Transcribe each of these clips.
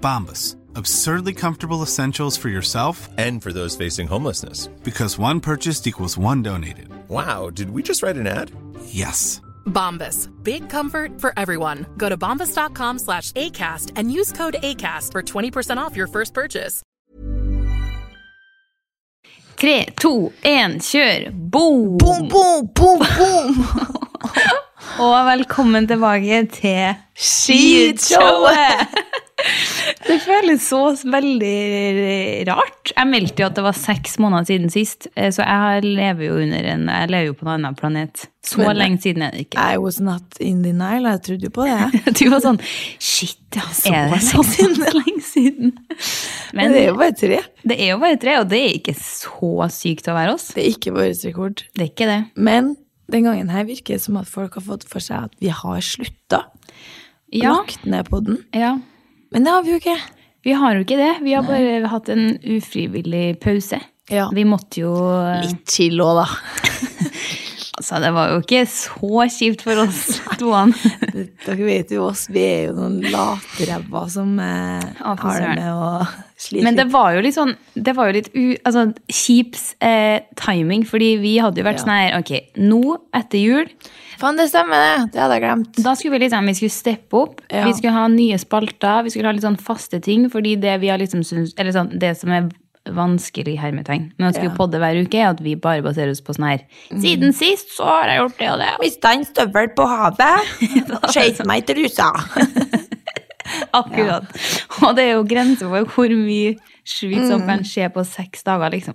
Bombus. Absurdly comfortable essentials for yourself And for those facing homelessness. because one purchased equals one donated. Wow, did we just write an ad? Yes. Bombas. Big comfort for everyone. Go to bombas.com slash ACAST and use code ACAST for 20% off your first purchase. Tre, to, én, kjør! Boom! Boom, boom, boom, boom! Og velkommen tilbake til Skishowet! Det føles så veldig rart. Jeg meldte jo at det var seks måneder siden sist, eh, så jeg har- lever jo under en Jeg lever jo på en annen planet. Så Men- lenge siden er det ikke. I was not in denial. Jeg trodde jo på det. Du var sånn Shit, ja, Så er det så lenge siden. lenge siden? Men Men det er jo bare tre. det er jo bare tre, og det er ikke så sykt å være oss. Det er ikke vårt rekord. Det er ikke det. Men den gangen her virker det som at folk har fått for seg at vi har slutta. Ja, Lagt ned podden. ja. Men det har vi jo ikke. Vi har jo ikke det. Vi har bare hatt en ufrivillig pause. Ja. Vi måtte jo Litt chill òg, da. Altså, det var jo ikke så kjipt for oss toene. Dere vet jo oss, vi er jo noen latræver som eh, Å, for har det søren. med å slite Men det litt. var jo litt sånn Det var jo litt u, altså, kjip eh, timing, fordi vi hadde jo vært Ja. sånn her Ok, nå etter jul, Faen, det stemmer, det! Det hadde jeg glemt. da skulle vi liksom Vi skulle steppe opp. Ja. Vi skulle ha nye spalter. Vi skulle ha litt sånn faste ting, fordi det vi har liksom syns Eller sånn, det som er vanskelig i hermetegn med å skulle Ja. Mm. podde hver uke, er at vi bare baserer oss på sånn her Siden sist så har jeg gjort det og det. og Mista en støvel på havet. Skøyt meg i trusa. Akkurat. Og det er jo grenser for hvor mye sjukt Mm. som kan skje på seks dager, liksom.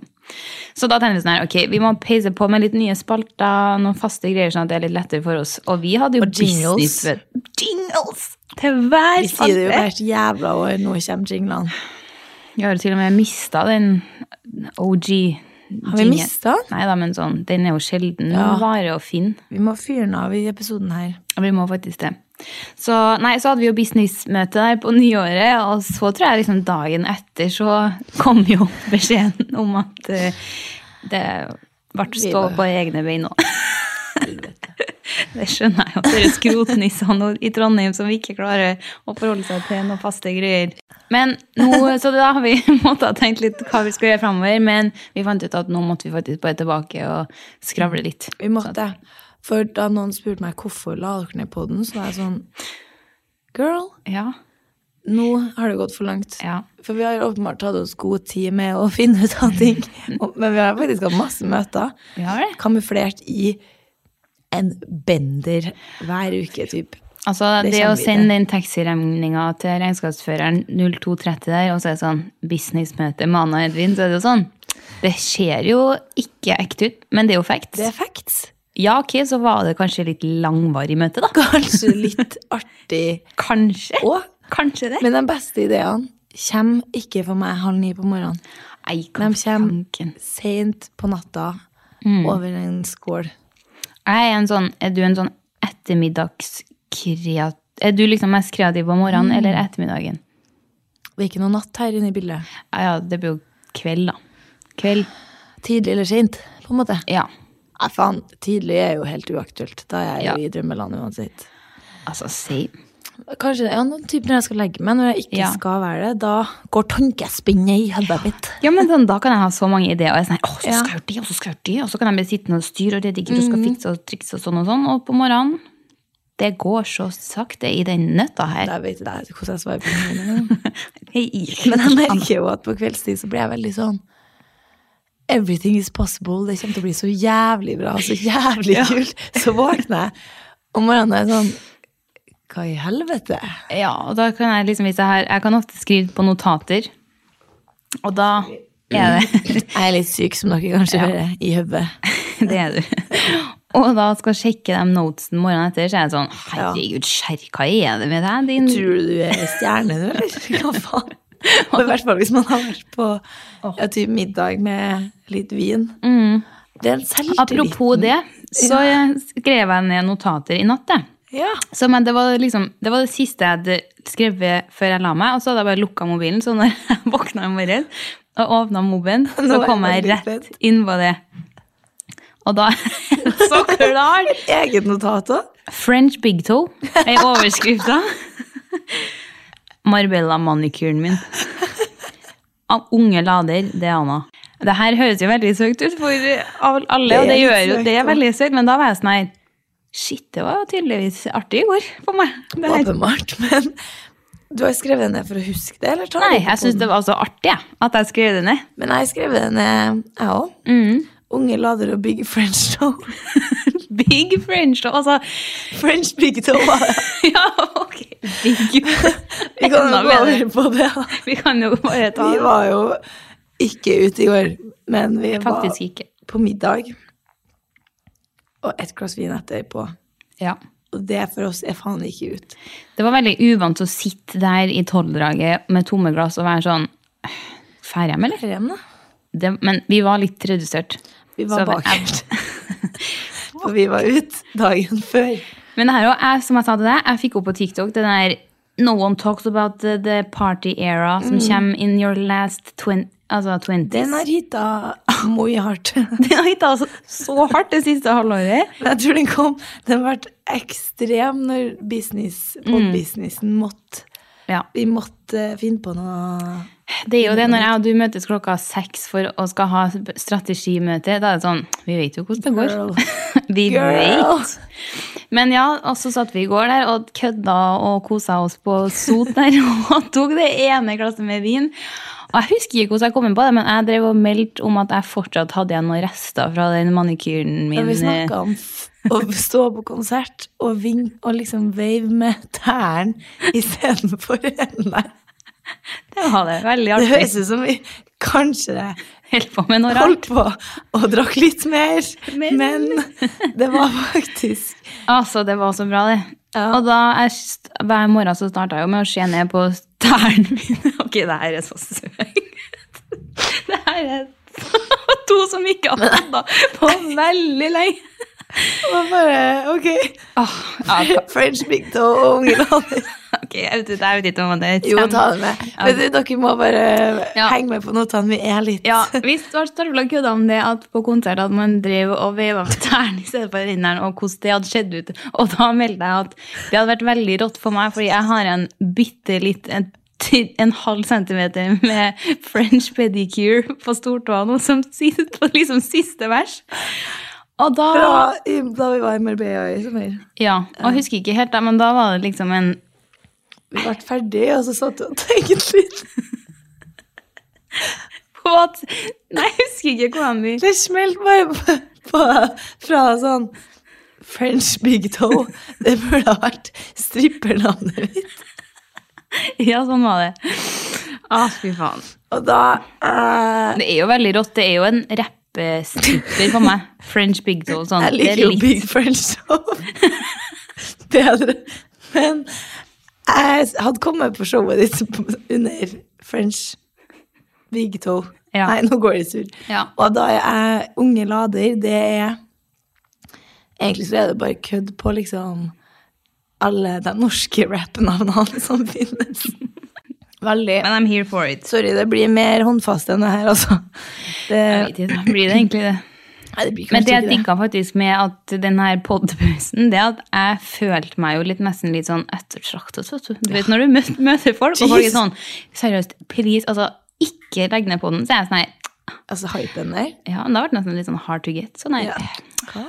Så da tenkte vi sånn her, ok, vi må peise på med litt nye spalter, noen faste greier, sånn at det er litt lettere for oss. Og vi hadde jo Og jingles. business ved- Jingles! Til hver Vi sier det jo spalte. hvert jævla år. Nå kommer jinglene. Vi har jo til og med mista den OG. Har vi jingen- mistet den? Nei da, men sånn, den er jo sjelden. Ja. Den varer å finne. Vi må fyre den av i episoden her. Vi må faktisk det. Så, nei, så hadde vi jo businessmøte der på nyåret, og så tror jeg liksom dagen etter så kom jo beskjeden om at eh, det ble Vi stå bare- på egne bein nå. Det skjønner jeg jo. Dere skrotnissene i Trondheim som ikke klarer å forholde seg til noen faste greier. Men nå, Så da har vi måttet ha tenkt litt hva vi skal gjøre framover, men vi fant ut at nå måtte vi faktisk bare tilbake og skravle litt. Vi måtte. For da noen spurte meg hvorfor la dere ned podden, så var jeg sånn Girl, Ja, nå har det gått for langt. Ja. For vi har åpenbart tatt oss god tid med å finne ut av ting. Og- Men vi har faktisk hatt masse møter. Vi har det. Kamuflert i en bender hver uke, typ. Altså, Det det, å kommer vi til. sende den taxiregninga til regnskapsføreren 0230 der, og så er det sånn businessmøte med Anna og Edvin, så er det jo sånn Det ser jo ikke ekte ut, men det er jo facts. Det er facts. Ja, ok, så var det kanskje litt langvarig møte, da. Kanskje litt artig Kanskje. òg. Kanskje det. Men de beste ideene kommer ikke for meg halv ni på morgenen. Nei, hva De kommer fanken. seint på natta Mm. over en skål. Jeg er en sånn Er du en sånn ettermiddagskreat... Er du liksom mest kreativ på Mm. morgenen eller ettermiddagen? Det er ikke noe natt her inne i bildet. Ja, ja, det blir jo kveld, da. Kveld. Tidlig eller seint, på en måte. Ja. Nei, faen. Tidlig er jo helt uaktuelt. Da er jeg Ja. jo i drømmeland uansett. Altså, same. Kanskje ja, noen type når jeg skal legge meg, når jeg ikke Ja. skal være det, da går tankespinnet i hodet mitt. Ja, men sånn, Da kan jeg ha så mange ideer. Og jeg er sånn, her, Åh, så Ja. Mm. skal jeg gjøre det, og så skal jeg gjøre det, og så kan jeg bli sittende og styre og redigere og skal fikse og trikse og sånn og sånn. Og på morgenen Det går så sakte i den nøtta her. Jeg vet ikke jeg vet ikke hvordan jeg svarer på det. men- Hei, Men jeg merker jo at på kveldstid så blir jeg veldig sånn Everything is possible. Det kommer til å bli så jævlig bra, så jævlig kult. Så våkner jeg om morgenen og er sånn Hva i helvete? Ja, og da kan jeg liksom vise her. Jeg kan ofte skrive på notater. Og da er det Jeg er litt syk, som dere kanskje hører, i hodet. Det er du. Og da skal jeg sjekke de notesene morgenen etter, så er jeg sånn Ja. Herregud, skjerr, hva er det med deg, din Tror du du er stjerne nå, eller? Hva faen? Og I hvert fall hvis man har vært på ja, typ middag med litt vin. Det er en selvtillit. Mm. Apropos det, så skrev jeg ned notater i natt, jeg. Ja. Så, men det var, liksom, det var det siste jeg hadde skrevet før jeg la meg, og så hadde jeg bare lukka mobilen. Så når jeg våkna i morgen og åpna mobilen, så Nå er kom jeg jeg veldig rett inn på det. Og da er det så klart! Eget notat òg. French big toe er overskrifta. Marbella-manikyren min. Av unge lader, det er Anna. Det her høres jo veldig søkt ut for all- alle, og det Det er gjør litt jo det er søkt, veldig søkt, men da var jeg sånn her Shit, det var jo tydeligvis artig i går for meg. Det her. Åpenbart. Men du har skrevet det ned for å huske det? eller tar du Nei, det på jeg syns den? det var så artig jeg, at jeg skrev det Mm. ned. Men jeg har skrevet det ned, jeg òg. Unge lader og big french toe. Big French, da. Altså French big toe. var- Ja, ok. Big. Vi kan jo Enda gå bedre. over på det. da. Vi kan jo bare ta Vi var jo ikke ute i går, men vi var Faktisk ikke. på middag. Og et glass vin etterpå. Ja. Og det for oss er faen ikke ut. Det var veldig uvant å sitte der i tolvdraget med tomme glass og være sånn Ferdig hjem, eller? Hjem, da. Det, men vi var litt redusert. Vi var Så- bakert. For vi var ute dagen før. Men det her også, jeg, som jeg sa til deg, jeg fikk opp på TikTok den der No one talks about the, the party era som kommer in your last twen, altså 20s. Mm. Den har hitta moi hardt. Den har hittet altså så hardt det siste halvåret. Men jeg tror den kom Den ble ekstrem når business, Mm. podbusinessen måtte Ja. Vi måtte finne på noe Det er jo det når jeg og du møtes klokka seks for å skal ha strategimøte. Da er det sånn Vi vet jo hvordan det går. vi Girl. vet. Men ja, og så satt vi i går der og kødda og kosa oss på sot der og tok det ene glasset med vin. Og jeg husker ikke hvordan jeg kom inn på det, men jeg drev og meldte om at jeg fortsatt hadde igjen noen rester fra den manikyren Men min. eh, vi snakka om f- å stå på konsert og, ving, og liksom wave med tærne istedenfor hendene. Det var det. Veldig Det artig. høres ut som vi kanskje Helt på med noe rart. holdt på og drakk litt mer, Men- men det var faktisk Altså, det var så bra, det. Og da jeg, st- hver morgen så starta jeg jo med å se ned på tærne mine. Ok, det her er så søkt. Det her er to som ikke har podda på veldig lenge. Det var bare ok. Ja, French big toe og unge lader. ok, jeg vet, ikke- jeg vet ikke om det er Jo, kjem- ta det med. Men du, dere må bare Ja. henge med på notene. Vi er litt Ja, vi starta vel å kødde om det at på konsert at man drev og veiva med tærne i stedet for hendene, og hvordan det hadde skjedd ut. Og da meldte jeg at det hadde vært veldig rått for meg, fordi jeg har en bitte litt en, ti- en halv centimeter med French pedicure på stortåa nå, som sitter på liksom siste vers. Og da fra i- da vi var i Marbella i sommer. Ja, og jeg husker ikke helt, da, men da var det liksom en Vi ble ferdige, og så satt vi og tenkte litt. på at Nei, jeg husker ikke hvordan vi Det smelte bare på, på, fra sånn French big toe. Det burde ha vært strippernavnet mitt. Ja, sånn var det. Å, fy faen. Og da eh, Det er jo veldig rått. Det er jo en rappestripper på meg. French big toe. Sånn. Jeg Det liker er jo litt- Big French Show bedre. Men jeg hadde kommet på showet ditt på- under French Big Toe. Ja. Nei, nå går det sur. Ja. Og da er jeg unge lader, det er Egentlig så er det bare kødd på liksom alle de norske rappnavnene som finnes. Veldig. Men I'm here for it. Sorry, det blir mer håndfast enn det her, altså. Jeg Det, vet ikke, Blir det egentlig det? nei, det blir Men kanskje det jeg ikke digga faktisk med at den her podpausen, det at jeg følte meg jo litt nesten litt sånn ettertraktet. vet Du Du vet når du mø- møter folk, og folk er Jeez. sånn Seriøst, please, altså, ikke legg ned på den. Så er jeg sånn her Altså hypen der. Ja, men det har vært nesten litt sånn hard to get. Så nei, Ja.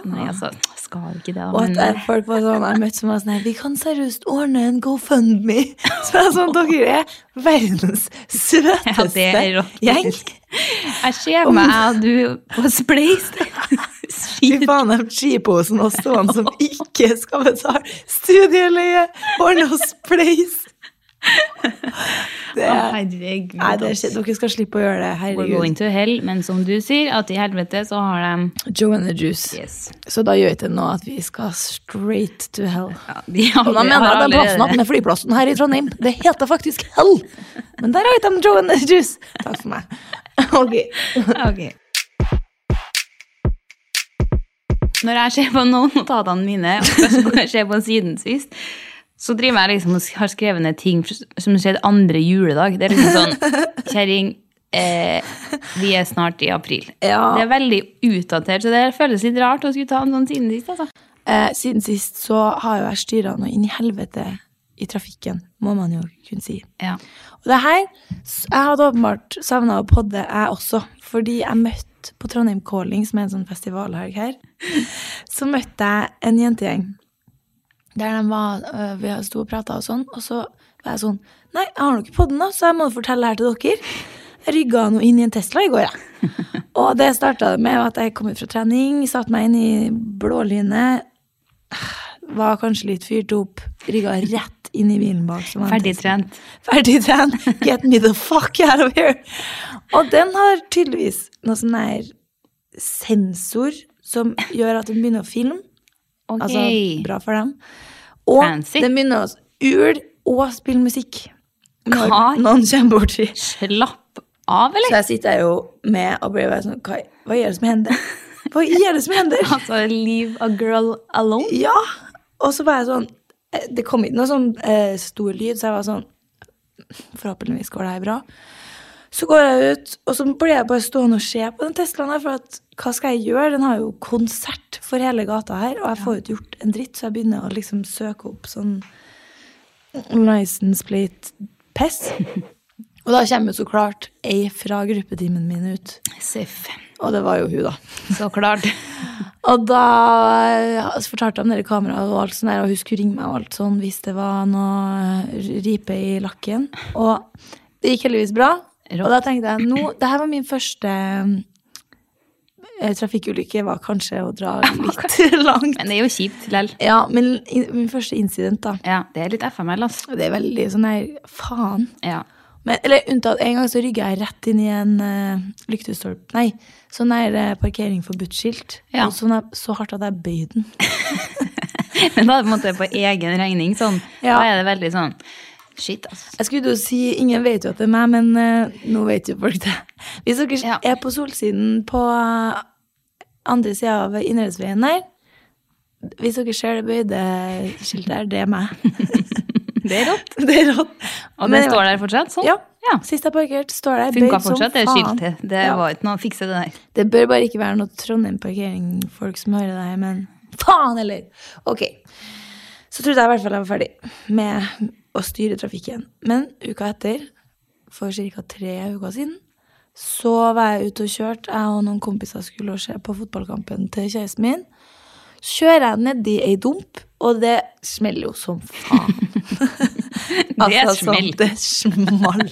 nei altså, skal ikke det, da. Og at men- det er folk på sånn, jeg har møtt som er sånn her, Vi kan seriøst ordne en GoFundMe! Så jeg er sånn, dere er verdens Ja, søteste det er rått. gjeng! faktisk. Jeg ser meg jeg og du på Spleis. Fy faen, de skiposen og stående som ikke skal betale studieleie! Ordne oss, please! Det er, Herregud. nei, det er, ass. ikke- dere skal slippe å gjøre det. We're going Herregud. to hell, men som du sier, at i helvete så har de Joe and the Juice. Yes. Så da gjør ikke det noe at vi skal straight to hell. Ja, de Og da aldri- mener jeg har den plassen opp allerede- med flyplassen her i Trondheim. Det heter faktisk Hell. Men der har ikke de Joe and the Juice. Takk for meg. Ok. Ok. Når jeg ser på noen notatene mine, og jeg ser på siden sist, så driver jeg liksom og sk- har skrevet ned ting som skjedde andre juledag. Det er liksom sånn, kjerring, eh, vi er snart i april. Ja. Det er veldig utdatert, så det føles litt rart å skulle ta en sånn siden sist, altså. Eh, siden sist så har jo jeg styra noe inn i helvete i trafikken, må man jo kunne si. Ja. Og det her, s- Jeg hadde åpenbart savna å podde, jeg også. Fordi jeg møtte på Trondheim Calling, som er en sånn festivalhelg her, så møtte jeg en jentegjeng. Der de var, øh, vi sto og prata og sånn, og så var jeg sånn Nei, jeg har nå ikke podden, da, så jeg må fortelle her til dere. Jeg rygga nå inn i en Tesla i går, jeg. Og det starta med at jeg kom ut fra trening, satte meg inn i blålynet. Var kanskje litt fyrt opp, rygga rett inn i bilen bak. som var en Tesla. Ferdigtrent. Ferdig trent. Get me the fuck out of here. Og den har tydeligvis noe sånn her sensor som gjør at den begynner å filme. Ok. Altså, bra for dem. Og Fancy. den begynner å ule og spille musikk. Når Hva? noen kommer borti. Slapp av, Så eller? jeg sitter her jo med og blir bare sånn Hva, hva gjør det som hender? Hva gjør det som hender? Altså, leave a girl alone. Ja. Og så var jeg sånn eh, Det kom ikke noe sånn eh, stor lyd, så jeg var sånn Forhåpentligvis går det her bra. Så går jeg ut, og så ble jeg bare stående og se på den Teslaen her, for at hva skal jeg gjøre? Den har jo konsert for hele gata her, og jeg får jo ikke gjort en dritt, så jeg begynner å liksom søke opp sånn license plate piss. Og da kommer jo så klart ei fra gruppetimen min ut. Seff. Og det var jo hun, da. Så klart. Og da eh, fortalte jeg om dere kameraet og alt sånt der, og hun skulle ringe meg og alt sånn hvis det var noe eh, ripe i lakken. Og det gikk heldigvis bra. Og da tenkte jeg nå, det her var min første eh, trafikkulykke, var kanskje å dra litt langt. Men det er jo kjipt lell. Ja, men i- min første incident, da. Ja, det er litt FML, altså. Og Det er veldig sånn her faen. Ja. Men, eller unntatt en gang så rygga jeg rett inn i en uh, lyktestolp Nei, sånn er det parkering forbudt-skilt. Ja. Og sånn er, så hardt at jeg bøyde den. Men da er det på en måte på egen regning. Sånn. Ja. Da er det veldig sånn Shit, altså. Jeg skulle jo si, ingen vet jo at det er meg, men eh, nå vet jo folk det. Hvis dere Ja. er på solsiden på eh, andre sida av Innherredsveien der, hvis dere ser det bøyde skiltet der, det er meg. Det er rått. Det er rått. Og den står der fortsatt? Sånn? Ja. ja. Sist jeg parkerte, står det bøyd Funka som fortsatt, det faen. skiltet. Det Ja. var ikke noe å fikse, det der. Det bør bare ikke være noe Trondheim-parkering-folk som hører det her, men faen heller! Ok. Så trodde jeg i hvert fall jeg var ferdig med å styre trafikken. Men uka etter, for ca. tre uker siden, så var jeg ute og kjørte. Jeg og noen kompiser skulle og se på fotballkampen til kjæresten min. Så kjører jeg nedi ei dump, og det smeller jo som faen. Det er sånn, smell. det small.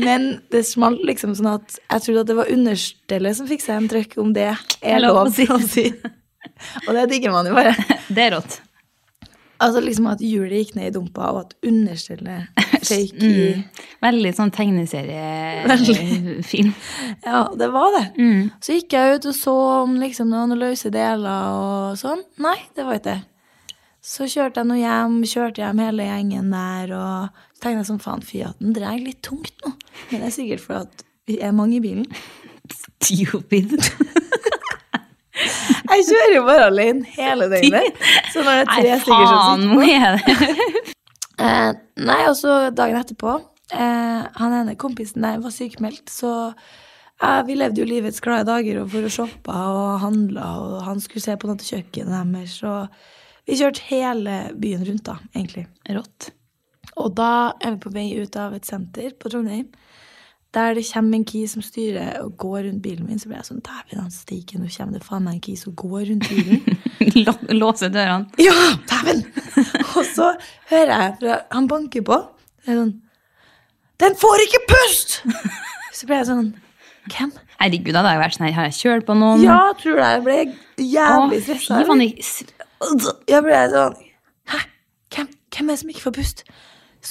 Men det smalt liksom sånn at jeg trodde at det var understellet som fikk seg en trøkk, om det er Lov å lov si. å si. Og det digger man jo bare. Det er rått. Altså liksom at hjulet gikk ned i dumpa, og at understellet føyk i Mm. Veldig sånn tegneseriefilm. Ja, det var det. Mm. Så gikk jeg ut og så om liksom noen løse deler og sånn. Nei, det var ikke det. Så kjørte jeg nå hjem, kjørte hjem hele gjengen der, og så tenkte jeg sånn, faen, Fiaten dreier litt tungt nå. Men det er sikkert fordi at vi er mange i bilen. Stupid. Jeg kjører jo bare alene hele døgnet. Så når det er tre Nei, stykker som faen, sitter hvor er det? Eh, nei, og så dagen etterpå eh, Han ene kompisen der var sykemeldt, så eh, vi levde jo livets glade dager og for å shoppe og handla, og han skulle se på noe til kjøkkenet deres, og vi kjørte hele byen rundt, da, egentlig. Rått. Og da er vi på vei ut av et senter på Trondheim. Der det kommer en ki som styrer og går rundt bilen min, så blir jeg sånn Dæven han stiger, nå kommer det faen meg en ki som går rundt bilen. Lå- Låse dørene. Ja, dæven! Og så hører jeg fra Han banker på. Så er jeg sånn Den får ikke pust! Så ble jeg sånn Hvem? Herregud, da hadde jeg vært sånn her, har jeg kjørt på noen? Ja, tror du det? Jeg ble jævlig Å, stressa. fy faen, jeg s- Jeg ble sånn Hæ? Hvem, hvem er det som ikke får pust?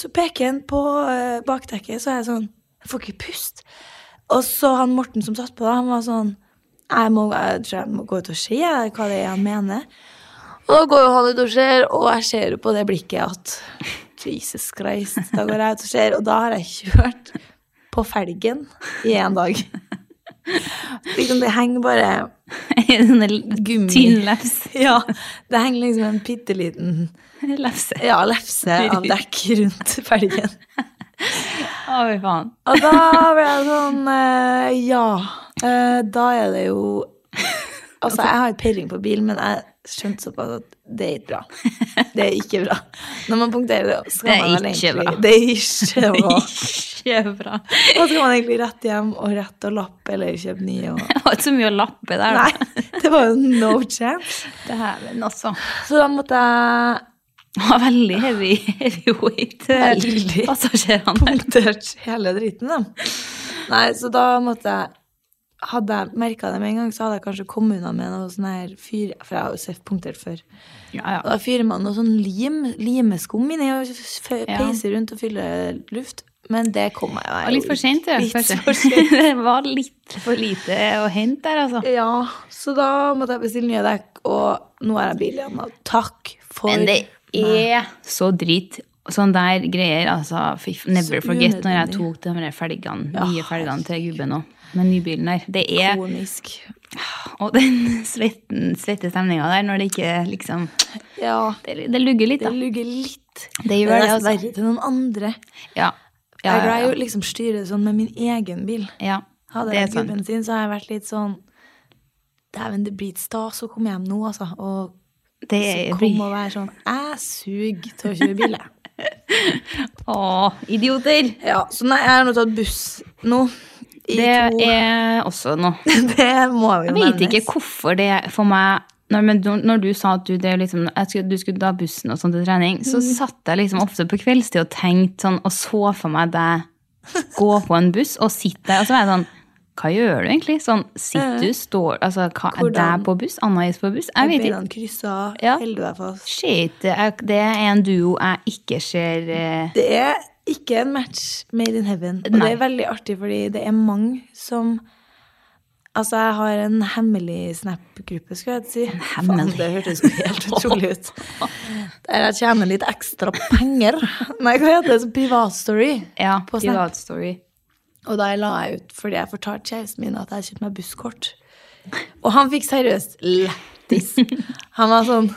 Så peker han på eh, bakdekket, så er jeg sånn Jeg får ikke pust. Og så han Morten som satt på, da, han var sånn jeg, må, jeg tror jeg må gå ut og se jeg, hva det er han mener. Og da går jo han ut og ser, og jeg ser jo på det blikket at Jesus Christ, da går jeg ut og ser, og da har jeg kjørt på felgen i én dag. Liksom, det henger bare Sånne Gummi. tynn leps. Ja, det henger liksom en bitte liten Lepse. ja, lefse av dekk rundt felgen. Å, fy faen. Og da ble jeg sånn eh, Ja, eh, da er det jo Altså, jeg har ikke peiling på bil, men jeg skjønte såpass at det er ikke bra. Det er ikke bra. Når man punkterer det, så Det er skal man vel ikke egentlig bra. Det er ikke bra. Kjempebra. Og så skal man egentlig rett hjem og rett og lappe eller kjøpe nye og Det var ikke så mye å lappe der. da. Nei, det var jo no chance. Dæven, altså. Så da måtte jeg Ja, veldig heavy, heavyweight eh, Veldig. passasjerene der. punktert hele driten, da. Nei, så da måtte jeg Hadde jeg merka det med en gang, så hadde jeg kanskje kommet unna med noe sånn her fyr For jeg har jo sett punktert før. Ja, Og da fyrer man noe sånn lim, limeskum inni og f- Ja. peiser rundt og fyller luft. Men det kom jeg Og litt for sent, ja. Litt kanskje. for sent. det var litt for lite å hente der, altså. Ja, så da måtte jeg bestille nye dekk, og nå er jeg bil igjen. Og takk for Men det meg. er så drit. Sånn der greier, altså. fy f- Never Så forget når jeg unødvendig. tok de der felgene, Ja, nye felgene til gubben òg. Med nybilen der. Det er Konisk. Og den svetten, svette stemninga der når det ikke liksom Ja, Det, det lugger litt, det da. lugger litt. Det gjør det, det er nesten altså. verre til noen andre. Ja. Ja, jeg er glad i ja, å liksom styre det sånn med min egen bil. ja. ja. Hadde Det jeg er sant. gubben sin, så har jeg vært litt sånn Dæven, det blir ikke stas å komme hjem nå, altså. Og Det så er kom og være sånn Jeg suger til å kjøre bil, jeg. Å, idioter! ja, så nei, jeg har nå tatt buss nå. I Det to er også noe. Det må jo Jeg vet ikke hvorfor det for meg når, men du- når du sa at du, drev liksom, jeg skulle, du skulle ta bussen og sånn til trening, Mm. så satt jeg liksom ofte på kveldstid og tenkte sånn, og så for meg deg gå på en buss og sitte der. Og så var jeg sånn Hva gjør du egentlig? Sånn, Sitter du, står altså, hva, Er Hvordan- deg på buss? Anna-Is på buss? Jeg vet ikke. Beina kryssa, Ja. holder du deg fast. Shit, det er, det er en duo jeg ikke ser eh, Det er ikke en match made in heaven. Og Nei. det er veldig artig, fordi det er mange som Altså, jeg har en hemmelig Snap-gruppe, skulle jeg si. Faen, hemmelig- det hørtes jo helt utrolig ut. Der jeg tjener litt ekstra penger. Nei, hva heter det? Så Privatstory Ja, på Snap. Privat Story. Og da jeg la jeg ut fordi jeg fortalte kjæresten min at jeg hadde kjøpt meg busskort. Og han fikk seriøst lættis. Han var sånn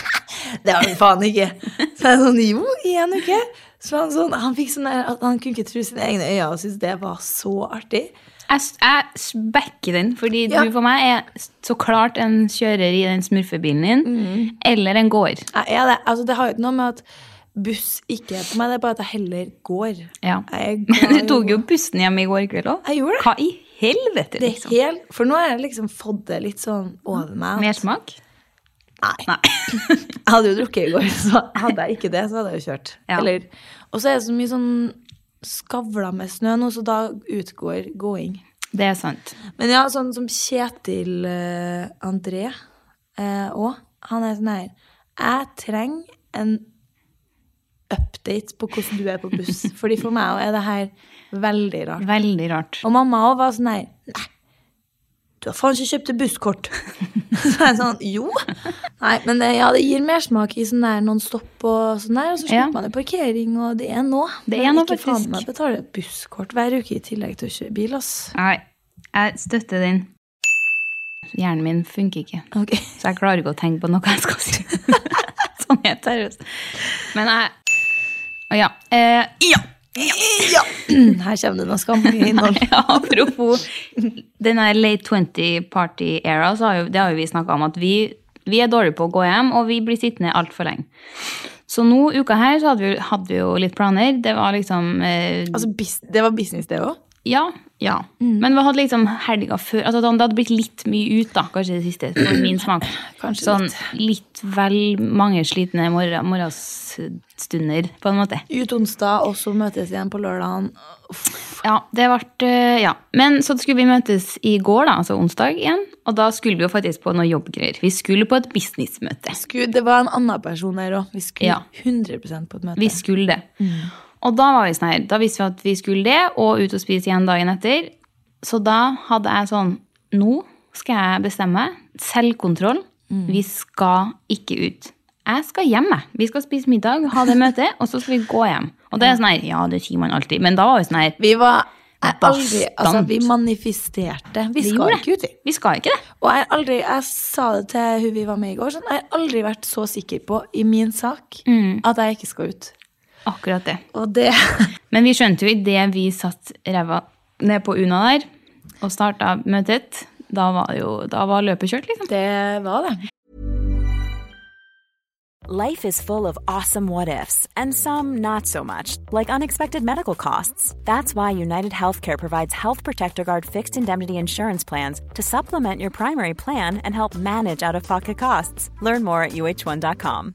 Det har du faen ikke. Så jeg sånn Jo, i en uke. Så var han sånn Han fikk sånn der at han kunne ikke tro sine egne øyne og syntes det var så artig. Jeg, s- jeg s- backer den, fordi Ja. du for meg er s- så klart en kjører i den smurfebilen din, Mm. eller en gård. Jeg er det. Altså, det har jo ikke noe med at buss ikke er på meg, det er bare at jeg heller går. Ja. Jeg er Men glad i du å tok gå. jo bussen hjem i går kveld òg. Jeg gjorde det. Hva i helvete, det liksom? helt, For nå har jeg liksom fått det litt sånn over meg. at- Mersmak? Nei. Nei. Jeg hadde jo drukket i går, så hadde jeg ikke det, så hadde jeg jo kjørt. Ja. Eller, og så er det så mye sånn skavla med snø nå, så da utgår gåing. Det er sant. Men ja, sånn som Kjetil eh, André eh, òg. Han er sånn her Jeg trenger en update på hvordan du er på buss. Fordi for meg er det her veldig rart. Veldig rart. Og mamma også var sånn her Nei, du har faen ikke kjøpt et busskort. så jeg sånn Jo. Nei, men det, ja, det gir mersmak i sånn der noen stopp og sånn der. Og så slipper Ja. man jo parkering, og det er nå. Det er nå, ikke faktisk. faen meg betale et busskort hver uke i tillegg til å kjøre bil, ass. Nei, jeg støtter den. Hjernen min funker ikke. Ok. Så jeg klarer ikke å tenke på noe jeg skal si. sånn er det seriøst. Men jeg Å ja. Eh, ja. Ja! Her kommer det noe skammelig innhold. ja! Apropos den der late 20 party era, så har jo, det har jo vi snakka om at vi, vi er dårlige på å gå hjem, og vi blir sittende altfor lenge. Så nå, uka her, så hadde vi, hadde vi jo litt planer. Det var liksom eh, Altså, bus- det var business, det òg? Ja, ja. Men vi hadde liksom helga før altså Det hadde blitt litt mye ut, da, kanskje det siste, for min smak. Kanskje sånn litt vel mange slitne morgen- morgenstunder, på en måte. Ut onsdag, og så møtes igjen på lørdagen. Ja, det ble eh, Ja. Men så skulle vi møtes i går, da, altså onsdag igjen. Og da skulle vi jo faktisk på noe jobbgreier. Vi skulle på et businessmøte. Gud, det var en annen person der òg. Vi skulle Ja. 100 på et møte. Vi skulle det. Og da var vi sånn her, da visste vi at vi skulle det, og ut og spise igjen dagen etter. Så da hadde jeg sånn, nå skal jeg bestemme, selvkontroll, vi skal ikke ut. Jeg skal hjemme, vi skal spise middag, ha det møtet, og så skal vi gå hjem. Og det er sånn her, ja, det sier man alltid, men da var vi sånn her, Vi var jeg er aldri, Bastant. altså, vi manifesterte. Vi skal gjorde ikke ut, vi. vi skal ikke det. Og jeg, har aldri, jeg sa det til hun vi var med i går, sånn, jeg har aldri vært så sikker på i min sak at jeg ikke skal ut. Akkurat det. Og det Men vi skjønte jo i det vi satt ræva ned på Una der, og startet møtet, da var, jo, da var løpet kjørt, liksom. Det var det. Life is full of awesome what ifs, and some not so much, like unexpected medical costs. That's why United Healthcare provides Health Protector Guard fixed indemnity insurance plans to supplement your primary plan and help manage out of pocket costs. Learn more at uh1.com.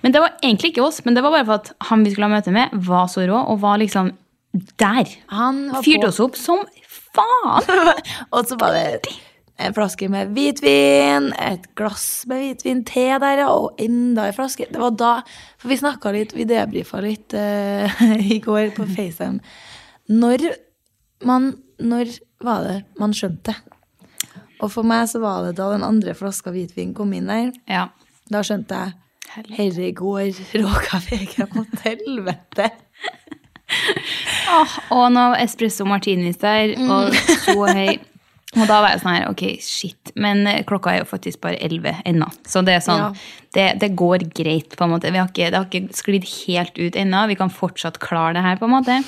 Men det var egentlig ikke oss, men det var bare for at han vi skulle ha møte med, var så rå og var liksom der. Han var Fyrte på. oss opp som faen! Og så var det en flaske med hvitvin, et glass med hvitvin, te der, ja, og enda en flaske. Det var da, for vi snakka litt, vi debrifa litt eh, i går på FaceTime. Når man Når var det man skjønte det? Og for meg så var det da den andre flaska hvitvin kom inn der. Ja. Da skjønte jeg Herregård, råka vegen mot helvete. Åh, og noe espresso martinis der, Mm. og så høy. Og da var jeg sånn her, ok, shit. Men eh, klokka er jo faktisk bare 11 ennå. Så det er sånn, Ja. det, det går greit, på en måte. Vi har ikke, det har ikke sklidd helt ut ennå. Vi kan fortsatt klare det her, på en måte.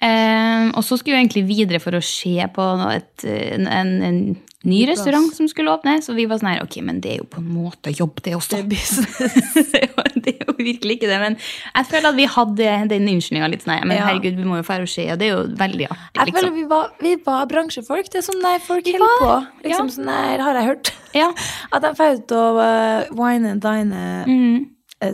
Eh, og så skulle vi egentlig videre for å se på noe- et, en, en, en ny restaurant som skulle åpne. Så vi var sånn her, ok, men det er jo på en måte jobb, det også. det er jo- det er jo virkelig ikke det, men jeg føler at vi hadde den unnskyldninga litt. Sånn, her, men Ja. herregud, vi må jo fære og se, og det er jo veldig artig, Jeg føler liksom. vi var, vi var bransjefolk. Det er sånn der folk Vi holder på. var, ja. Liksom sånn der har jeg hørt. Ja. At de får ut og uh, wine and dine Mm. Eh,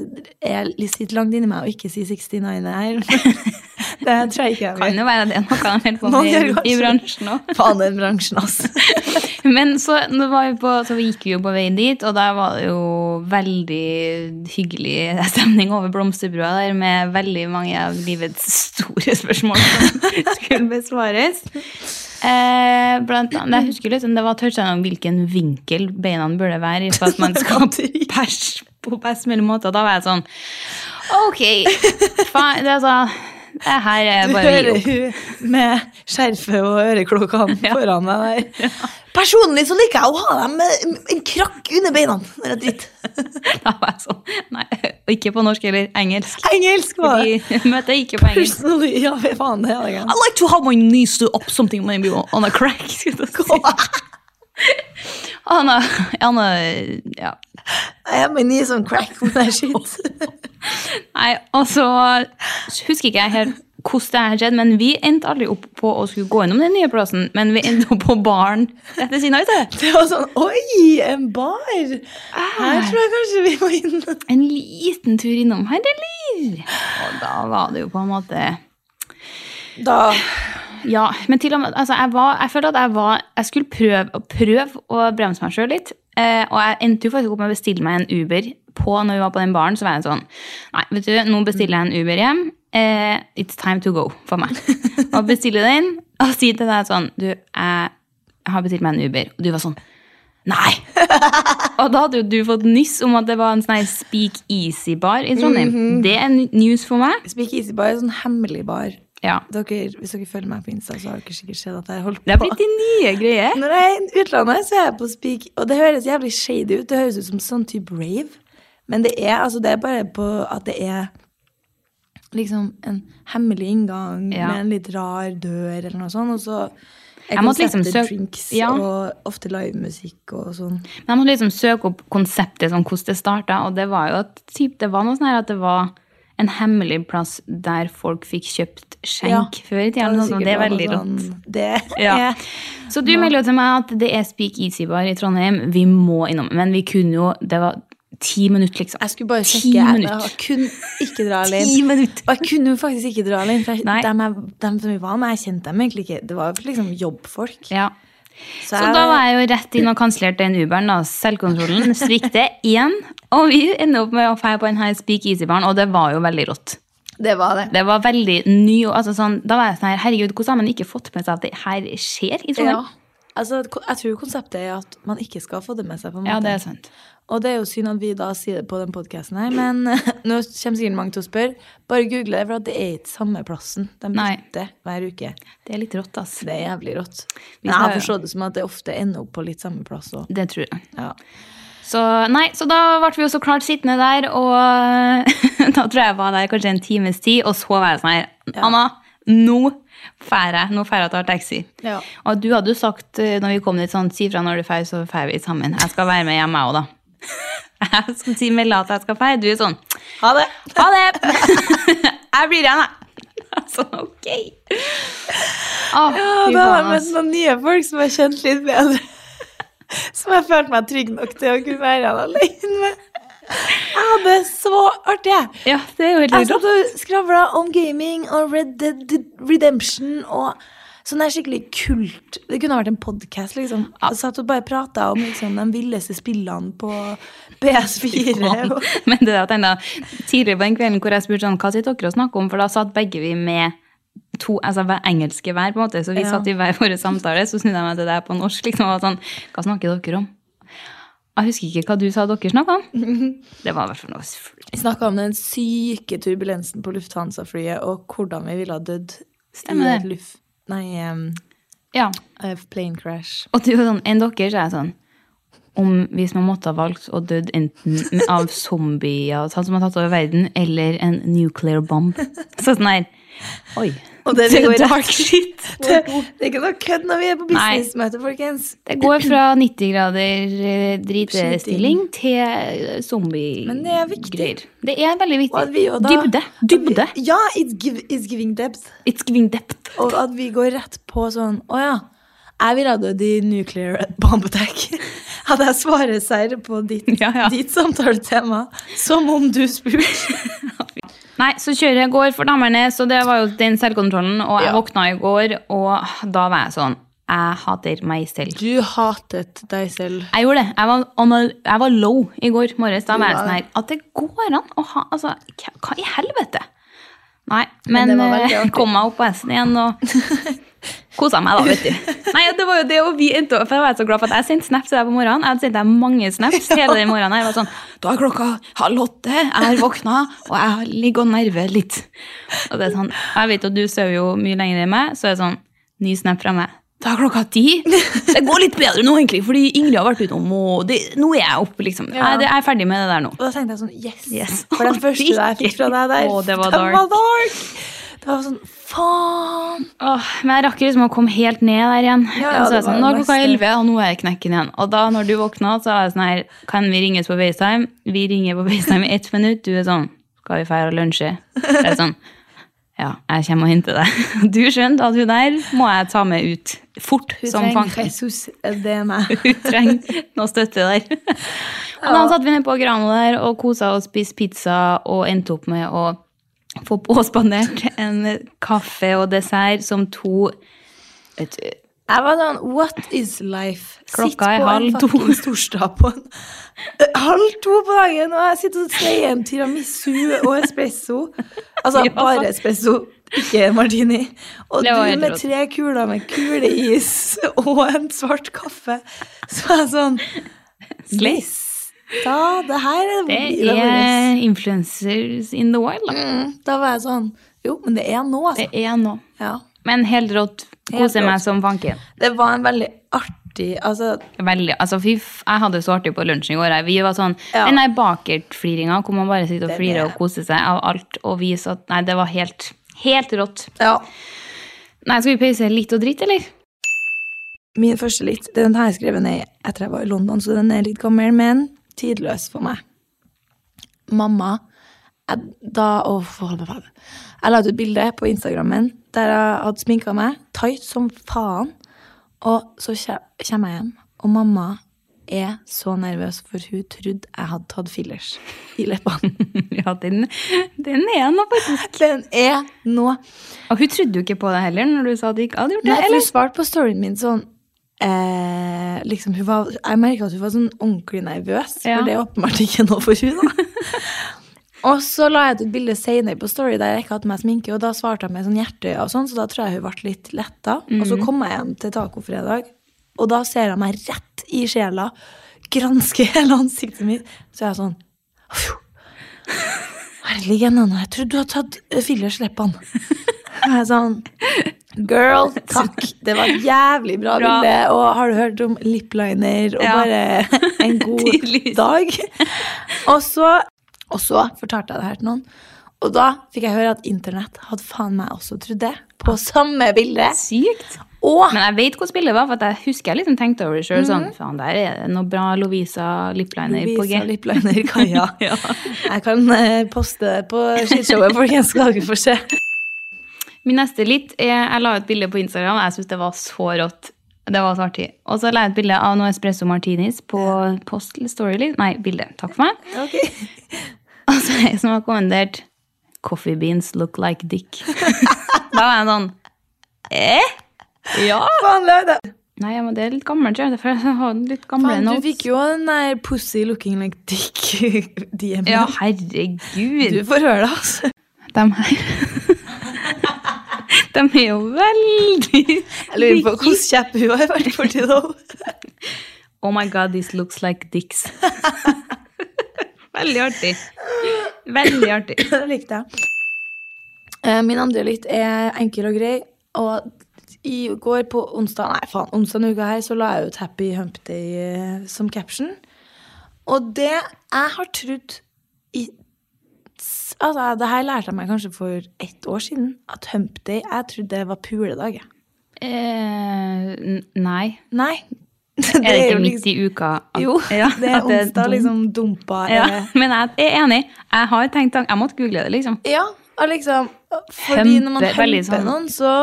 Jeg sitter langt inni meg og ikke sier 69 her. det tror jeg ikke jeg Kan jo være det er noe han holder på Noen med gjør i, i kanskje bransjen òg. Faen, den bransjen, altså. Men så, nå var vi på, så vi gikk vi jo på veien dit, og der var det jo veldig hyggelig stemning over blomsterbrua der, med veldig mange av livets store spørsmål som skulle besvares. Eh, blant annet, jeg husker liksom, det var toucha om hvilken vinkel beina burde være i for at man skal pers på best mulig måte, og da var jeg sånn Ok, faen, det er sånn Det her er Du bare hører vi gjorde. hun med skjerfet og øreklokkene foran meg der. Personlig så liker jeg å ha dem med en krakk under beina når jeg driter. Da var jeg sånn Nei, ikke på norsk eller engelsk. Engelsk var det. Fordi møtet gikk jo på engelsk. Personally, ja, faen, det er det. I like to have my knees to up something maybe on a crack. skulle jeg si. Han er, han er, ja. I have my knees on sånn crack with that shit. Nei, og så husker ikke jeg helt hvordan det her skjedde, men vi endte aldri opp på å skulle gå innom den nye plassen, men vi endte opp på baren rett ved siden av. vet du. Det var sånn Oi, en bar! Ah. Her tror jeg kanskje vi må inn. En liten tur innom her, eller? Og da var det jo på en måte Da Ja, men til og med altså, jeg, var, jeg følte at jeg var Jeg skulle prøve, og prøve å bremse meg sjøl litt. Eh, og jeg endte jo faktisk opp med å bestille meg en Uber på når vi var på den baren. Så var jeg sånn Nei, vet du, nå bestiller jeg en Uber hjem. Eh, it's time to go for meg. Og bestille den, og si til deg sånn Du, jeg har bestilt meg en Uber. Og du var sånn Nei! Og da hadde jo du fått nyss om at det var en sånn her Speak Easy-bar i Trondheim. Det er news for meg. Speak Easy Bar er en sånn hemmelig bar. Ja. Dere, hvis dere følger meg på Insta, så har dere sikkert sett at jeg har holdt Det er på. blitt de nye greier. Når jeg er i utlandet, så er jeg på Speak, og det høres jævlig shady ut. Det høres ut som sånn type rave. Men det er, altså, det er bare på at det er liksom en hemmelig inngang Ja. med en litt rar dør eller noe sånt, og så er Jeg måtte liksom konseptet søke- drinks Ja. og ofte livemusikk og sånn. Men jeg måtte liksom søke opp konseptet, sånn, hvordan det starta, og det var jo at typ, det var noe sånn her at det var en hemmelig plass der folk fikk kjøpt skjenk Ja. før i tida. Da eller noe sånt. sikkert Det er bare veldig sånn, rått. Det Ja. er Så du melder jo til meg at det er Speak Easy Bar i Trondheim. Vi må innom. Men vi kunne jo Det var ti minutter, liksom. Jeg skulle bare Ti sjekke. jeg- minutter. Jeg kunne ikke dra alene. Ti minutter. Og jeg kunne jo faktisk ikke dra alene. For jeg, Nei. dem, jeg, dem som vi var med, jeg kjente dem egentlig ikke. Det var liksom jobbfolk. Ja. Så Eh, da var jeg jo rett inn og kansellerte den Uberen. da, Selvkontrollen svikter igjen. Og vi ender opp med å feire på denne Speak Easy-baren, og det var jo veldig rått. Det var det. Det var veldig ny og altså sånn, Da var jeg sånn her, herregud, hvordan har man ikke fått med seg at det her skjer liksom? i Ja. Trondheim? Altså, ko- jeg tror konseptet er at man ikke skal få det med seg. på en måte. Ja, det er sant. Og det er jo synd at vi da sier det på den podkasten her, men nå kommer sikkert mange til å spørre. Bare google det, for at det er ikke samme plassen. De Nei. bytter hver uke. Det er litt rått, ass. Det er jævlig rått. Vi Men jeg har skal- forstått det som at det ofte ender opp på litt samme plass òg. Det tror jeg. Ja. Så nei, så da ble vi jo så klart sittende der, og da tror jeg jeg var der kanskje en times tid, og så var jeg sånn her, Anna, nå drar jeg, nå drar jeg og tar taxi. Ja. Og du hadde jo sagt eh, når vi kom dit sånn, si fra når du drar, så drar vi sammen. Jeg skal være med hjemme jeg også, da. Jeg skal si melde at jeg skal dra. Du er sånn, Ha det! ha det! Jeg blir igjen, jeg. Altså, ok. Åh, Ja, fy da har faen, jeg møtt altså. noen nye folk som jeg kjente litt bedre. Som jeg følte meg trygg nok til å kunne være han alene med. Jeg hadde det så artig, jeg. Ja, det er jo Jeg helt satt rått. og skravla om gaming og Red Dead Redemption og sånn der skikkelig kult. Det kunne vært en podkast, liksom. Jeg satt og bare prata om liksom, de villeste spillene på PS4. og- Men det der at enda, tidligere på den kvelden hvor jeg spurte sånn, hva sitter dere og snakker om, for da satt begge vi med to altså, hver- engelske hver, på en måte, så vi Ja. satt i hver våre samtale, så snudde jeg meg til deg på norsk, liksom, og var sånn, hva snakker dere om? Jeg husker ikke hva du sa dere snakket om. Det var i hvert fall noe fl- Vi snakka om den syke turbulensen på Lufthansa-flyet og hvordan vi ville ha dødd. Stemmer i det. et Luft... Nei, em, Ja, eh, plane crash. og du var sånn, enn dere, så er jeg sånn, om hvis man måtte ha valgt å død enten med- av zombier, sånn som har tatt over verden, eller en nuclear bomb. Så sånn her, oi, Og det går rett- dark shit. Det, det er ikke noe kødd når vi er på Nei. businessmøte, folkens. Det går fra 90 grader eh, dritestilling til zombie Men det er viktig. greier. Det er veldig Og viktig. at vi jo da, dybde. at vi- Dybde. Ja, it's, give, it's giving depth. It's giving depth. Og at vi går rett på sånn Å ja, jeg ville ha dødd i nuclear bomb attack. Hadde jeg svaret seier på ditt, Ja, ja. ditt samtaletema, som om du spurte. Nei, så kjøret går for damerne, så det var jo den selvkontrollen. Og jeg våkna i går, og da var jeg sånn Jeg hater meg selv. Du hatet deg selv. Jeg gjorde det. Jeg var, on a, jeg var low i går morges. Da var jeg var- sånn her At det går an å ha Altså, hva hva i helvete? Nei, Men men det var veldig eh, artig. kom meg opp på hesten igjen og kosa meg, da, vet du. Nei, det var jo det, og vi endte opp For jeg var så glad for at jeg sendte snaps til deg på morgenen. Jeg hadde sendt deg mange snaps hele den morgenen. her. Jeg var sånn Da er klokka halv åtte, jeg har våkna, og jeg ligger og nerver litt. Og det er sånn Jeg vet at du sover jo mye lenger enn meg, så er det sånn Ny snap fra meg. Da er klokka ti. Det går litt bedre nå, egentlig, fordi Ingrid har vært utom, og det, nå er jeg oppe, liksom. Nei, det, jeg er ferdig med det der nå. Og da tenkte jeg sånn Yes! Yes. For den første jeg fikk fra deg der, Å, det var den dark. var dark! Det var sånn Faen! Åh, men jeg rakk liksom å komme helt ned der igjen. Ja, og ja, så er det jeg sånn, var nå er det klokka verste. 11, og nå er jeg knekken igjen. Og da når du våkna, så er jeg sånn her, kan vi ringes på FaceTime? Vi ringer på FaceTime i ett minutt. Du er sånn, skal vi feire lunsje? Jeg er sånn, ja, jeg kommer og henter deg. Du skjønte at hun der må jeg ta med ut fort Hun som trenger fanken. Jesus, det er meg. Hun trenger noe støtte der. Og da satt vi ned på Grano der og kosa og spiste pizza og endte opp med å få påspandert en kaffe og dessert som to vet du, Jeg var sånn What is life? Sitt Klokka er på en halv to. fuckings torsdag på en Eh, halv to på dagen, og jeg sitter og sneier en tiramisu og espresso. Altså Ja. bare espresso, ikke martini. Og Det var du helt med rått. tre kuler med kuleis og en svart kaffe. Så jeg er sånn Sliss. Da, det her er Det livet er influencers in the wild, da. Mm, Da var jeg sånn Jo, men det er nå, Det altså. er nå. Ja. Men helt rått. Helt Koser meg rått. som fanken. Det var en veldig artig Altså, Veldig, altså fy, f- Jeg hadde det så artig på lunsjen i går. jeg. Vi var sånn, Ja. Den der bakertfliringa hvor man bare sitter og Den flirer er- og koser seg av alt. og vi satt, Nei, det var helt, helt rått. ja. Nei, Skal vi pause litt og dritt, eller? Min første litt, den har jeg skrevet ned etter jeg var i London, så den er litt gammel, men tidløs for meg. Mamma, jeg, da, åh, hold meg fast. Jeg la ut et bilde på Instagrammen der jeg hadde sminket meg, tight som faen, og så kje- kommer jeg hjem, og mamma er så nervøs, for hun trodde jeg hadde tatt fillers i leppene. ja, den, den er nå faktisk. Den er nå Og hun trodde jo ikke på det heller når du sa at du ikke hadde gjort det. Nei, for hun eller? svarte på storyen min sånn eh, liksom, hun var, Jeg merka at hun var sånn ordentlig nervøs, Ja. for det er åpenbart ikke noe for hun da. og så la jeg ut et bilde senere på story der jeg ikke hadde på meg sminke, og da svarte hun med sånn hjerteøye og sånn, så da tror jeg hun ble litt letta. Og Mhm. så kom jeg hjem til tacofredag, og da ser hun meg rett i sjela, gransker hele ansiktet mitt, så er jeg sånn «Fjo, Herlig, Nanna, jeg trodde du hadde tatt eh, fillers leppene. Og jeg er sånn Girl, takk. Det var et jævlig bra, Bra. bilde. Og har du hørt om lipliner og Ja. bare en god Tydeligvis. dag? Og så, og så fortalte jeg det her til noen. Og da fikk jeg høre at internett hadde faen meg også trodd det. På samme bilde. Sykt. Og Men jeg vet hvordan bildet var, for at jeg husker jeg liksom tenkte over det sjøl. Sånn, faen, der er det noe bra Lovisa lipliner på Lovisa G. lipliner Kaja. Ja. Jeg kan eh, poste det på skishowet, folkens, så dere får se. Min neste litt er Jeg la ut bilde på Instagram, og jeg syns det var så rått. Det var så artig. Og så la jeg ut bilde av noe espresso martinis på post eller story. eller- Nei, bilde. Takk for meg. Og så er jeg som har kommentert 'Coffee beans look like dick'. da var jeg sånn Eh? Ja? Faen, Lauda. Nei, men det er litt gammelt, tror jeg. Derfor jeg har litt gamle Faen, du notes. fikk jo den der pussy looking like dick DM. Ja, herregud. Du får høre det, altså. De her De er jo veldig Jeg lurer på hvordan kjepp hun har vært for til nå. Oh my god, this looks like dicks. Veldig artig. Veldig artig. Det likte jeg. Eh, Min andre litt er enkel og grei. Og i går på onsdag, nei faen, onsdag denne uka her, så la jeg ut Happy Hump Day eh, som caption. Og det jeg har trodd i s- Altså, det her lærte jeg meg kanskje for ett år siden. At hump day Jeg trodde det var puledag, jeg. Eh, n- nei. Nei. Er det ikke liksom- midt i uka? at- Jo, Ja, det at er onsdag, dumt? liksom dumpa. Ja, eh, men jeg er enig. Jeg har tenkt tanken. Jeg måtte google det, liksom. Ja, og liksom Fordi når man Humpe- veldig humper sånn- noen, så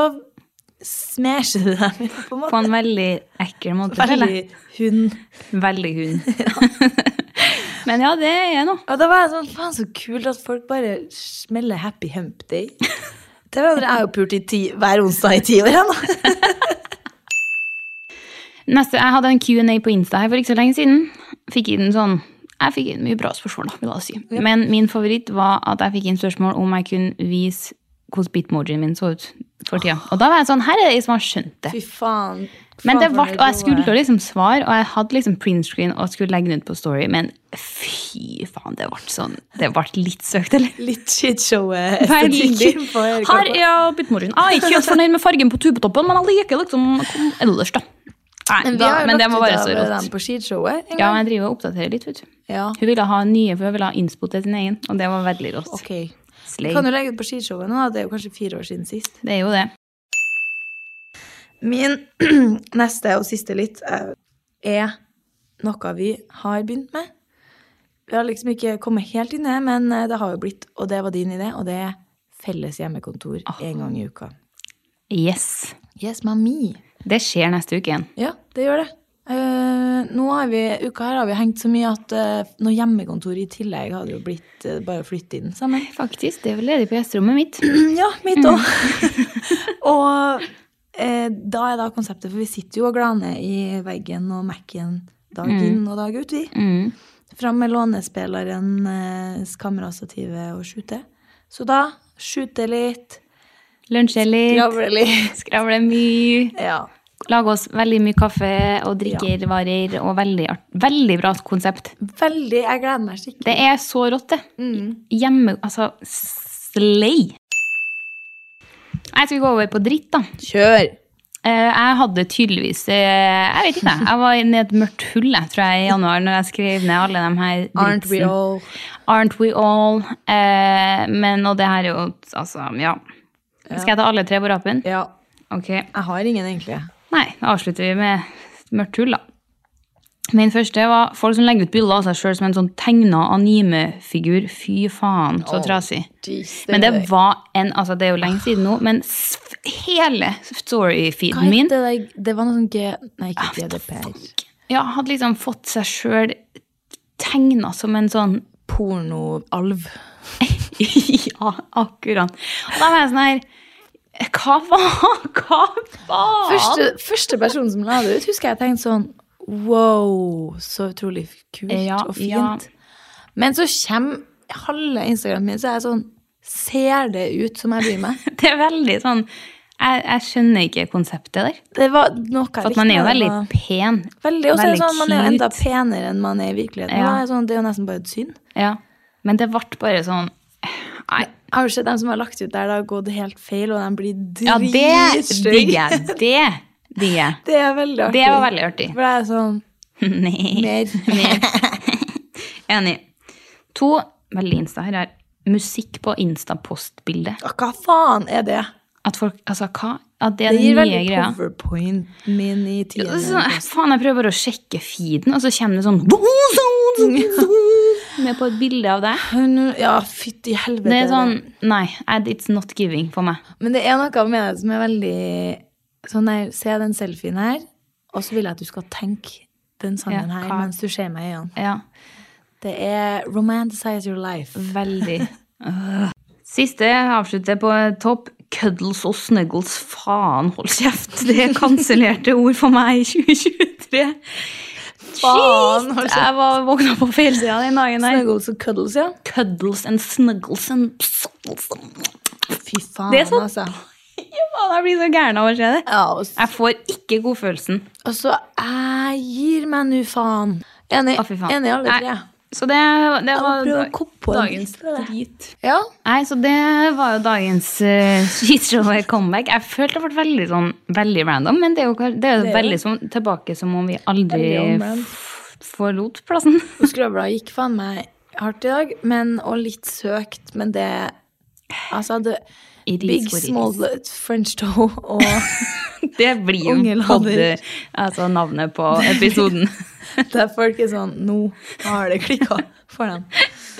smasher du dem jo, på På en måte. en veldig ekkel måte. føler jeg. Veldig hund. Veldig hund. men ja, det er noe. Og da var jeg sånn Faen, så kult at folk bare smeller happy hump day. Det var, jeg har jo pult i ti, hver onsdag i ti år ennå. Neste, Jeg hadde en Q&A på Insta her for ikke så lenge siden. Fikk inn sånn, Jeg fikk inn mye bra spørsmål, da, vil jeg si. Men min favoritt var at jeg fikk inn spørsmål om jeg kunne vise hvordan bitmojien min så ut for tida. Og da var jeg sånn Her er det ei som har skjønt det. Fy faen. Men det Faen, for ble, noe og jeg skulle gode. jo liksom svare, og jeg hadde liksom printscreen og skulle legge den ut på Story, men fy faen, det ble sånn Det ble litt søkt, eller? Litt shitshowet Veldig. estetikken på hele Her kroppen. er bitmoren. Jeg er ikke helt fornøyd med fargen på tubetoppen, men jeg liker liksom ellers, da. Nei, Men vi da, har jo men det lagt må ut være av så rått. dem på skishowet en Ja, gang. men jeg driver og oppdaterer litt, vet du. Ja. Hun ville ha nye, for hun ville ha innspo til sin egen, og det var veldig rått. Ok. Slay. Kan du legge ut på skishowet nå? da? Det er jo kanskje fire år siden sist. Det er jo det. Min neste og siste litt eh, er noe vi har begynt med. Vi har liksom ikke kommet helt inn i det, men eh, det har jo blitt, og det var din idé, og det er felles hjemmekontor en gang i uka. Yes. Ah. Yes, mami. Det skjer neste uke igjen. Ja, det gjør det. Eh, nå har vi, uka her har vi hengt så mye at eh, noe hjemmekontor i tillegg hadde jo blitt eh, bare å flytte inn sammen. Faktisk, det er vel ledig på gjesterommet mitt. Ja, mitt Mm. òg. og eh, da er da konseptet, for vi sitter jo og glaner i veggen og Mac-en dag inn og dag ut, vi. Mm. Fram med lånespilleren, eh, kamerastativet og skjute. Så da skjute litt, Lunsje litt, skravle litt. skravle mye. Ja. Lage oss veldig mye kaffe og drikkervarer, og veldig, art- veldig bra konsept. Veldig. Jeg gleder meg skikkelig. Det er så rått, det. Hjemme Altså, slay! Jeg skal gå over på dritt, da. Kjør! Eh, Jeg hadde tydeligvis eh, Jeg vet ikke, jeg. jeg var inne i et mørkt hull jeg tror jeg, i januar når jeg skrev ned alle de her Aren't we dritsene. all Aren't we all? Eh, men, og det her er jo Altså, ja. Skal jeg ta alle tre på rapen? Ja. Ok. Jeg har ingen, egentlig. Nei, da avslutter vi med et mørkt hull, da. Min første var folk som legger ut bilder av seg sjøl som en sånn tegna animefigur. Fy faen, så trasig. Men det var en Altså, det er jo lenge siden nå, men s- hele Hva story-feeden het min Ah, det der? Det var noe sånn G... Nei, ikke GDPR. ja, hadde liksom fått seg sjøl tegna som en sånn Pornoalv. Ja, akkurat. Og da var jeg sånn her Hva faen? Hva faen? Første, første person som la det ut, husker jeg tenkte sånn Wow, så utrolig kult Ja, og ja. fint. Men så kommer halve Instagramen min, så er jeg sånn Ser det ut som jeg bryr meg? Det er veldig sånn jeg, jeg skjønner ikke konseptet der. Det var noe jeg For at man er jo med det. veldig pen. Veldig, og så er det veldig sånn, Man er jo enda cute. penere enn man er i virkeligheten. Ja. Nå er jeg sånn, det er jo nesten bare et syn. Ja. Men det ble bare sånn Nei. Har du sett dem som har lagt ut der, det har gått helt feil, og de blir Ja, det digger dritstygge? jeg. Det digger jeg. det er veldig artig. Det var veldig artig. For det er sånn Nei. mer Enig. To veldig insta her er musikk på instapostbildet. Hva faen er det? At folk, altså hva? At det er Det den gir nye veldig greia. powerpoint min i Ja, det tiden. er Sånn, eh, faen, jeg prøver bare å sjekke feeden, og så kommer det sånn Med på et bilde av deg. Ja, fytti helvete. Det er sånn Nei, and it's not giving for meg. Men det er noe med det som er veldig sånn der, Se den selfien her, og så vil jeg at du skal tenke den sangen Ja, her hva- mens du ser meg i øynene. Ja, Det er 'Romanticize Your Life'. veldig Øh. Siste avslutter på topp. Cuddles og snuggles, faen, hold kjeft! Det er kansellerte ord for meg i 2023. Faen, Shit! Jeg var våkna på feil side den dagen der. Snuggles og cuddles, ja. Cuddles and snuggles and snuggles. Fy faen, Det er sånn- altså. Ja, faen, jeg blir så gæren av å se det. Ja, og, s- Jeg får ikke godfølelsen. og så Jeg gir meg nå, faen. Enig. Å, fy faen. Enig i alle Nei, tre. Så det, det Jeg må var prøve å dag- koppe på en dagens bit fra det. drit. Ja. Nei, så det var jo dagens uh, skitshow comeback. Jeg følte det ble veldig sånn, veldig random, men det er jo, kar- det er jo Det er veldig sånn tilbake som om vi aldri Veldig on brand. f- forlot plassen. Og Skravla gikk faen meg hardt i dag, men, og litt søkt, men det Altså, det It is Big what it small is. lo- French toe og Det blir jo Unge podd, lader. altså navnet på episoden. der folk er sånn Nå har det klikka for dem.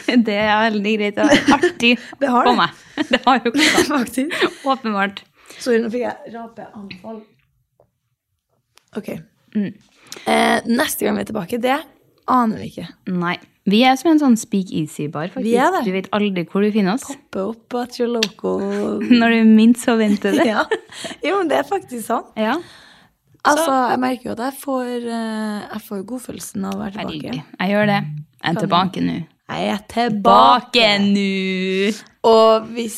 Det er veldig greit. Det er artig Det har på det. meg. Det har jo klart. Faktisk. Åpenbart. Sorry, nå fikk jeg rapeanfall. Ok. Eh, neste gang vi er tilbake, det aner vi ikke. Nei. Vi er som en sånn speak easy-bar, faktisk. Vi er det. Du vet aldri hvor du finner oss. Hoppe opp at your loco Når du minst forventer det. ja. Jo, men det er faktisk sant. Ja, Altså, jeg merker jo at jeg får, eh, jeg får godfølelsen av å være veldig. tilbake. Jeg gjør det. Jeg er tilbake nå. Jeg er tilbake! nå! Og hvis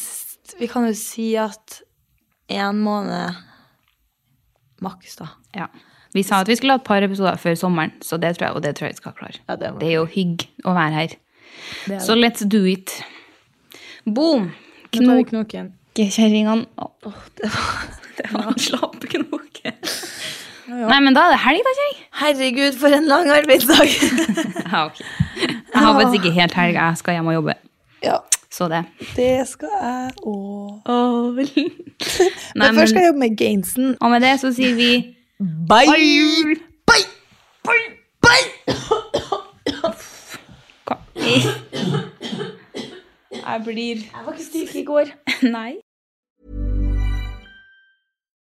Vi kan jo si at én måned maks, da. Ja. Vi sa at vi skulle ha et par episoder før sommeren, så det tror jeg, og det tror jeg vi skal klare. Ja, det må det er jo hygg å være her. er Så let's do it. Boom! Nå tar vi Knok, knoken. kjerringene. Åh, det var, det var en slapp knoke. Nei, men da er det helg, da, kjerring. Herregud, for en lang arbeidsdag! Ja, ok. Jeg har faktisk ikke helt helg. Jeg skal hjem og jobbe. ja, Så det. det skal jeg òg. Nei, Men først skal jeg jobbe med Gainsen. Og med det så sier vi Bye! Bye! Bye! Bye! Jeg blir Jeg var ikke syk i går. Nei.